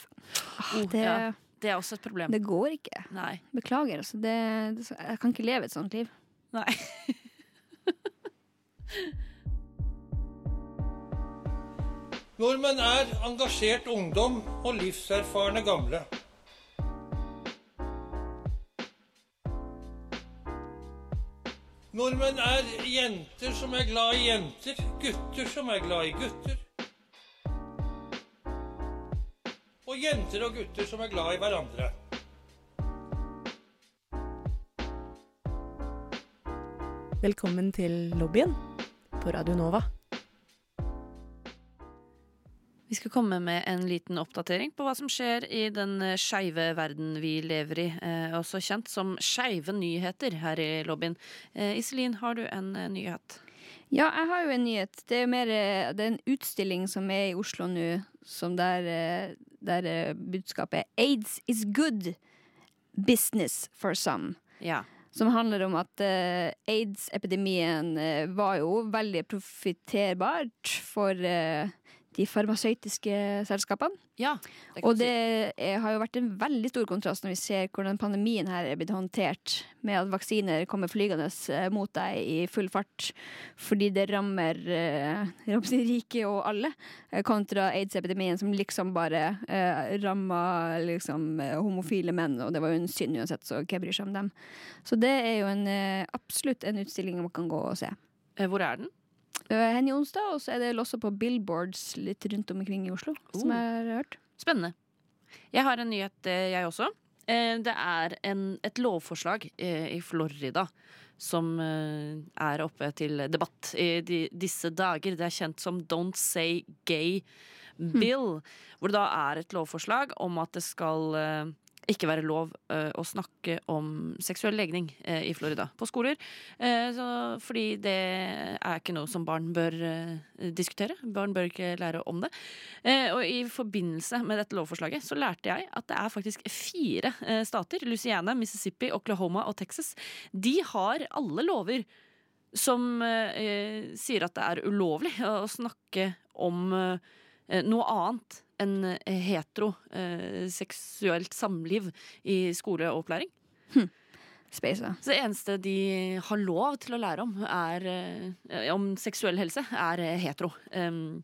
S3: ah,
S2: Oh,
S3: det,
S2: ja. Det er også et problem.
S3: det går ikke.
S2: Nei.
S3: Beklager, altså. Det, det, jeg kan ikke leve et sånt liv.
S2: Nei. *laughs*
S13: Nordmenn er engasjert ungdom og livserfarne gamle. Nordmenn er jenter som er glad i jenter, gutter som er glad i gutter. Og jenter og gutter som er glad i hverandre.
S11: Velkommen til lobbyen på Radio Nova.
S2: Vi skal komme med en liten oppdatering på hva som skjer i den eh, skeive verden vi lever i. eh, Også kjent som skeive nyheter her i lobbyen. Eh, Iselin, har du en eh, nyhet?
S3: Ja, jeg har jo en nyhet. Det er, jo mer, eh, det er en utstilling som er i Oslo nå, som der, eh, der eh, budskapet er Aids is good business for some.
S2: Ja.
S3: Som handler om at eh, aids-epidemien eh, var jo veldig profitterbart for eh, de farmasøytiske selskapene.
S2: Ja,
S3: det og det er, har jo vært en veldig stor kontrast når vi ser hvordan pandemien her er blitt håndtert, med at vaksiner kommer flygende eh, mot deg i full fart fordi det rammer eh, jeg håper å si rike og alle, eh, kontra aids-epidemien som liksom bare eh, ramma liksom, eh, homofile menn, og det var jo en synd uansett, så hvem bryr seg om dem. Så det er jo en, eh, absolutt en utstilling man kan gå og se.
S2: Eh, Hvor er den?
S3: Eh, Hen i onsdag, og så er det vel også på billboards litt rundt omkring i Oslo, som
S2: Oh.
S3: jeg har hørt.
S2: Spennende. Jeg har en nyhet, eh, jeg også. Eh, Det er en, et lovforslag eh, i Florida som eh, er oppe til debatt i de, disse dager. Det er kjent som Don't Say Gay Bill. Hvor det da er et lovforslag om at det skal eh, ikke være lov eh, å snakke om seksuell legning eh, i Florida på skoler. Eh, så, fordi det er ikke noe som barn bør eh, diskutere. Barn bør ikke lære om det. Eh, og i forbindelse med dette lovforslaget så lærte jeg at det er faktisk fire eh, stater, Louisiana, Mississippi, Oklahoma og Texas, de har alle lover som eh, sier at det er ulovlig å snakke om eh, noe annet enn eh, heteroseksuelt samliv i skoleopplæring.
S3: Space,
S2: Så det eneste de har lov til å lære om, er, eh, om seksuell helse, er eh, hetero. Um,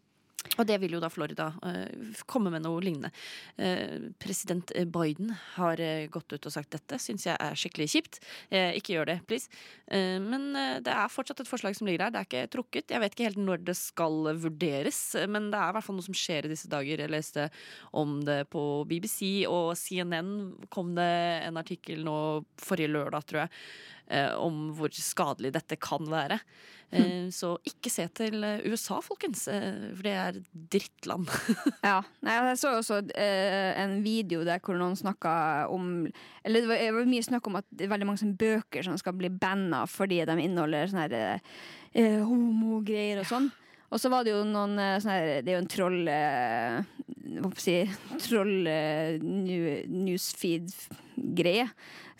S2: og det vil jo da Florida eh, komme med noe lignende. Eh, president Biden har eh, gått ut og sagt dette syns jeg er skikkelig kjipt. Eh, ikke gjør det, please. Eh, men eh, det er fortsatt et forslag som ligger der. Det er ikke trukket. Jeg vet ikke helt når det skal vurderes, eh, men det er i hvert fall noe som skjer i disse dager. Jeg leste om det på BBC og CNN kom det en artikkel nå forrige lørdag, tror jeg, eh, om hvor skadelig dette kan være. Eh, Så ikke se til eh, USA, folkens, eh, for det er et drittland.
S3: Ja. Nei, jeg så også eh, en video der hvor noen snakka om Eller det var, det var mye snakk om at det er veldig mange sånne bøker som skal bli banna fordi de inneholder sånne her, eh, homogreier og sånn. Og så var det jo noen eh, sånne her, Det er jo en troll... eh, hva skal jeg si Troll eh, nu- newsfeed-greie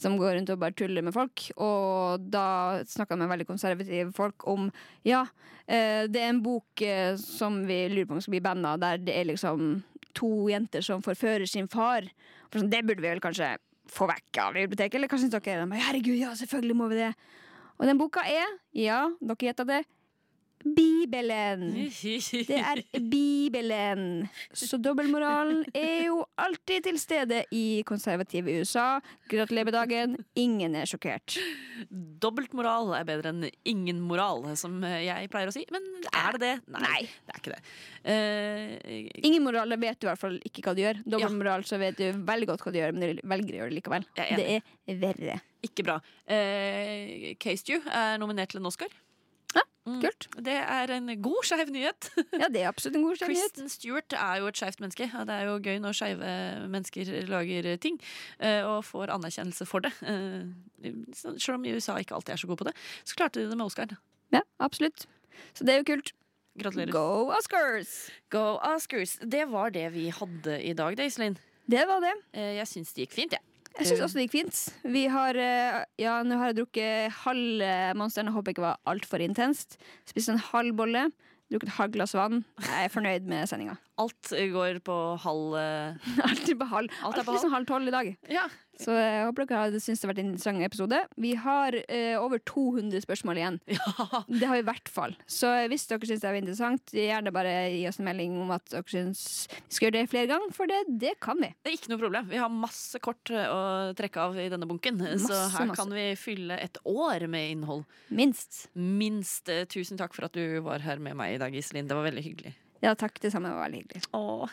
S3: som går rundt og bare tuller med folk. Og da snakka med veldig konservative folk om ja, eh, det er en bok eh, som vi lurer på om skal bli banna, der det er liksom to jenter som forfører sin far. For sånn, det burde vi vel kanskje få vekk av biblioteket, eller hva syns dere? De bare, Herregud, ja, selvfølgelig må vi det. Og den boka er, ja, dere gjetta det, Bibelen. Det er Bibelen. Så dobbeltmoralen er jo alltid til stede i konservative USA. Gratulerer med dagen. Ingen er sjokkert.
S2: Dobbelt moral er bedre enn ingen moral, som eh, jeg pleier å si. Men er det det? Nei. Det er ikke det. Eh,
S3: Ingen moral det vet du i hvert fall ikke hva du gjør. Dobbeltmoral så vet du veldig godt hva du gjør, men du velger å gjøre det likevel.
S2: er
S3: Det er verre.
S2: Ikke bra. Eh, Case er nominert til en Oscar. Mm. Det er en god skeiv nyhet. *laughs*
S3: Ja, det er absolutt en god skeiv nyhet.
S2: Kristen Stewart er jo et skeivt menneske. og Det er jo gøy når skeive mennesker lager ting eh, og får anerkjennelse for det. Eh, så- Selv om USA ikke alltid er så god på det, så klarte de det med Oscar.
S3: Ja, absolutt. Så det er jo kult.
S2: Gratulerer.
S3: Go Oscars!
S2: Go Oscars. Det var det vi hadde i dag, det, Iselin.
S3: Det var det.
S2: Eh, Jeg syns det gikk fint, jeg.
S3: Jeg syns også det gikk fint. Vi har, eh, ja, nå har jeg drukket halv eh, Monsteren. Jeg håper ikke det var altfor intenst. Spist en halv bolle. Drukket et halvt glass vann. Jeg er fornøyd med sendinga. *laughs*
S2: Alt eh, går på halv eh,
S3: Alt er på halv.
S2: Alt er på
S3: liksom halv tolv i dag. Så eh, jeg håper dere har syntes det har vært en interessant episode. Vi har eh, over 200 spørsmål
S2: *laughs*
S3: igjen. Det har vi i hvert fall. Så eh, hvis dere syns det er interessant, gjerne bare gi oss en melding om at dere syns vi skal gjøre det flere ganger, for det, det kan vi.
S2: Det er ikke noe problem. Vi har masse kort eh, å trekke av i denne bunken. Eh, så
S3: Masse,
S2: her
S3: masse.
S2: kan vi fylle et år med innhold.
S3: Minst.
S2: Minst. Eh, Tusen takk for at du var her med meg i dag, Iselin. Det var veldig hyggelig.
S3: Ja, takk. Det samme var veldig hyggelig.
S2: Åh,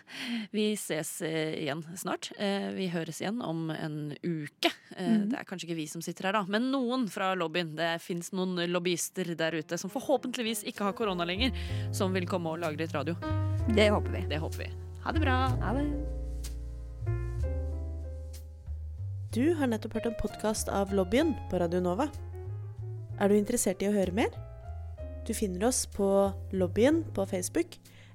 S2: vi ses eh, igjen snart. Eh, vi høres igjen om en uke. Eh,
S3: Mhm.
S2: Det er kanskje ikke vi som sitter her, da, men noen fra lobbyen. Det fins noen lobbyister der ute som forhåpentligvis ikke har korona lenger, som vil komme og lage litt radio.
S3: Det håper vi.
S2: Det håper vi. Ha det bra.
S3: Ha det.
S11: Du har nettopp hørt en podkast av Lobbyen på Radio Nova. Er du interessert i å høre mer? Du finner oss på Lobbyen på Facebook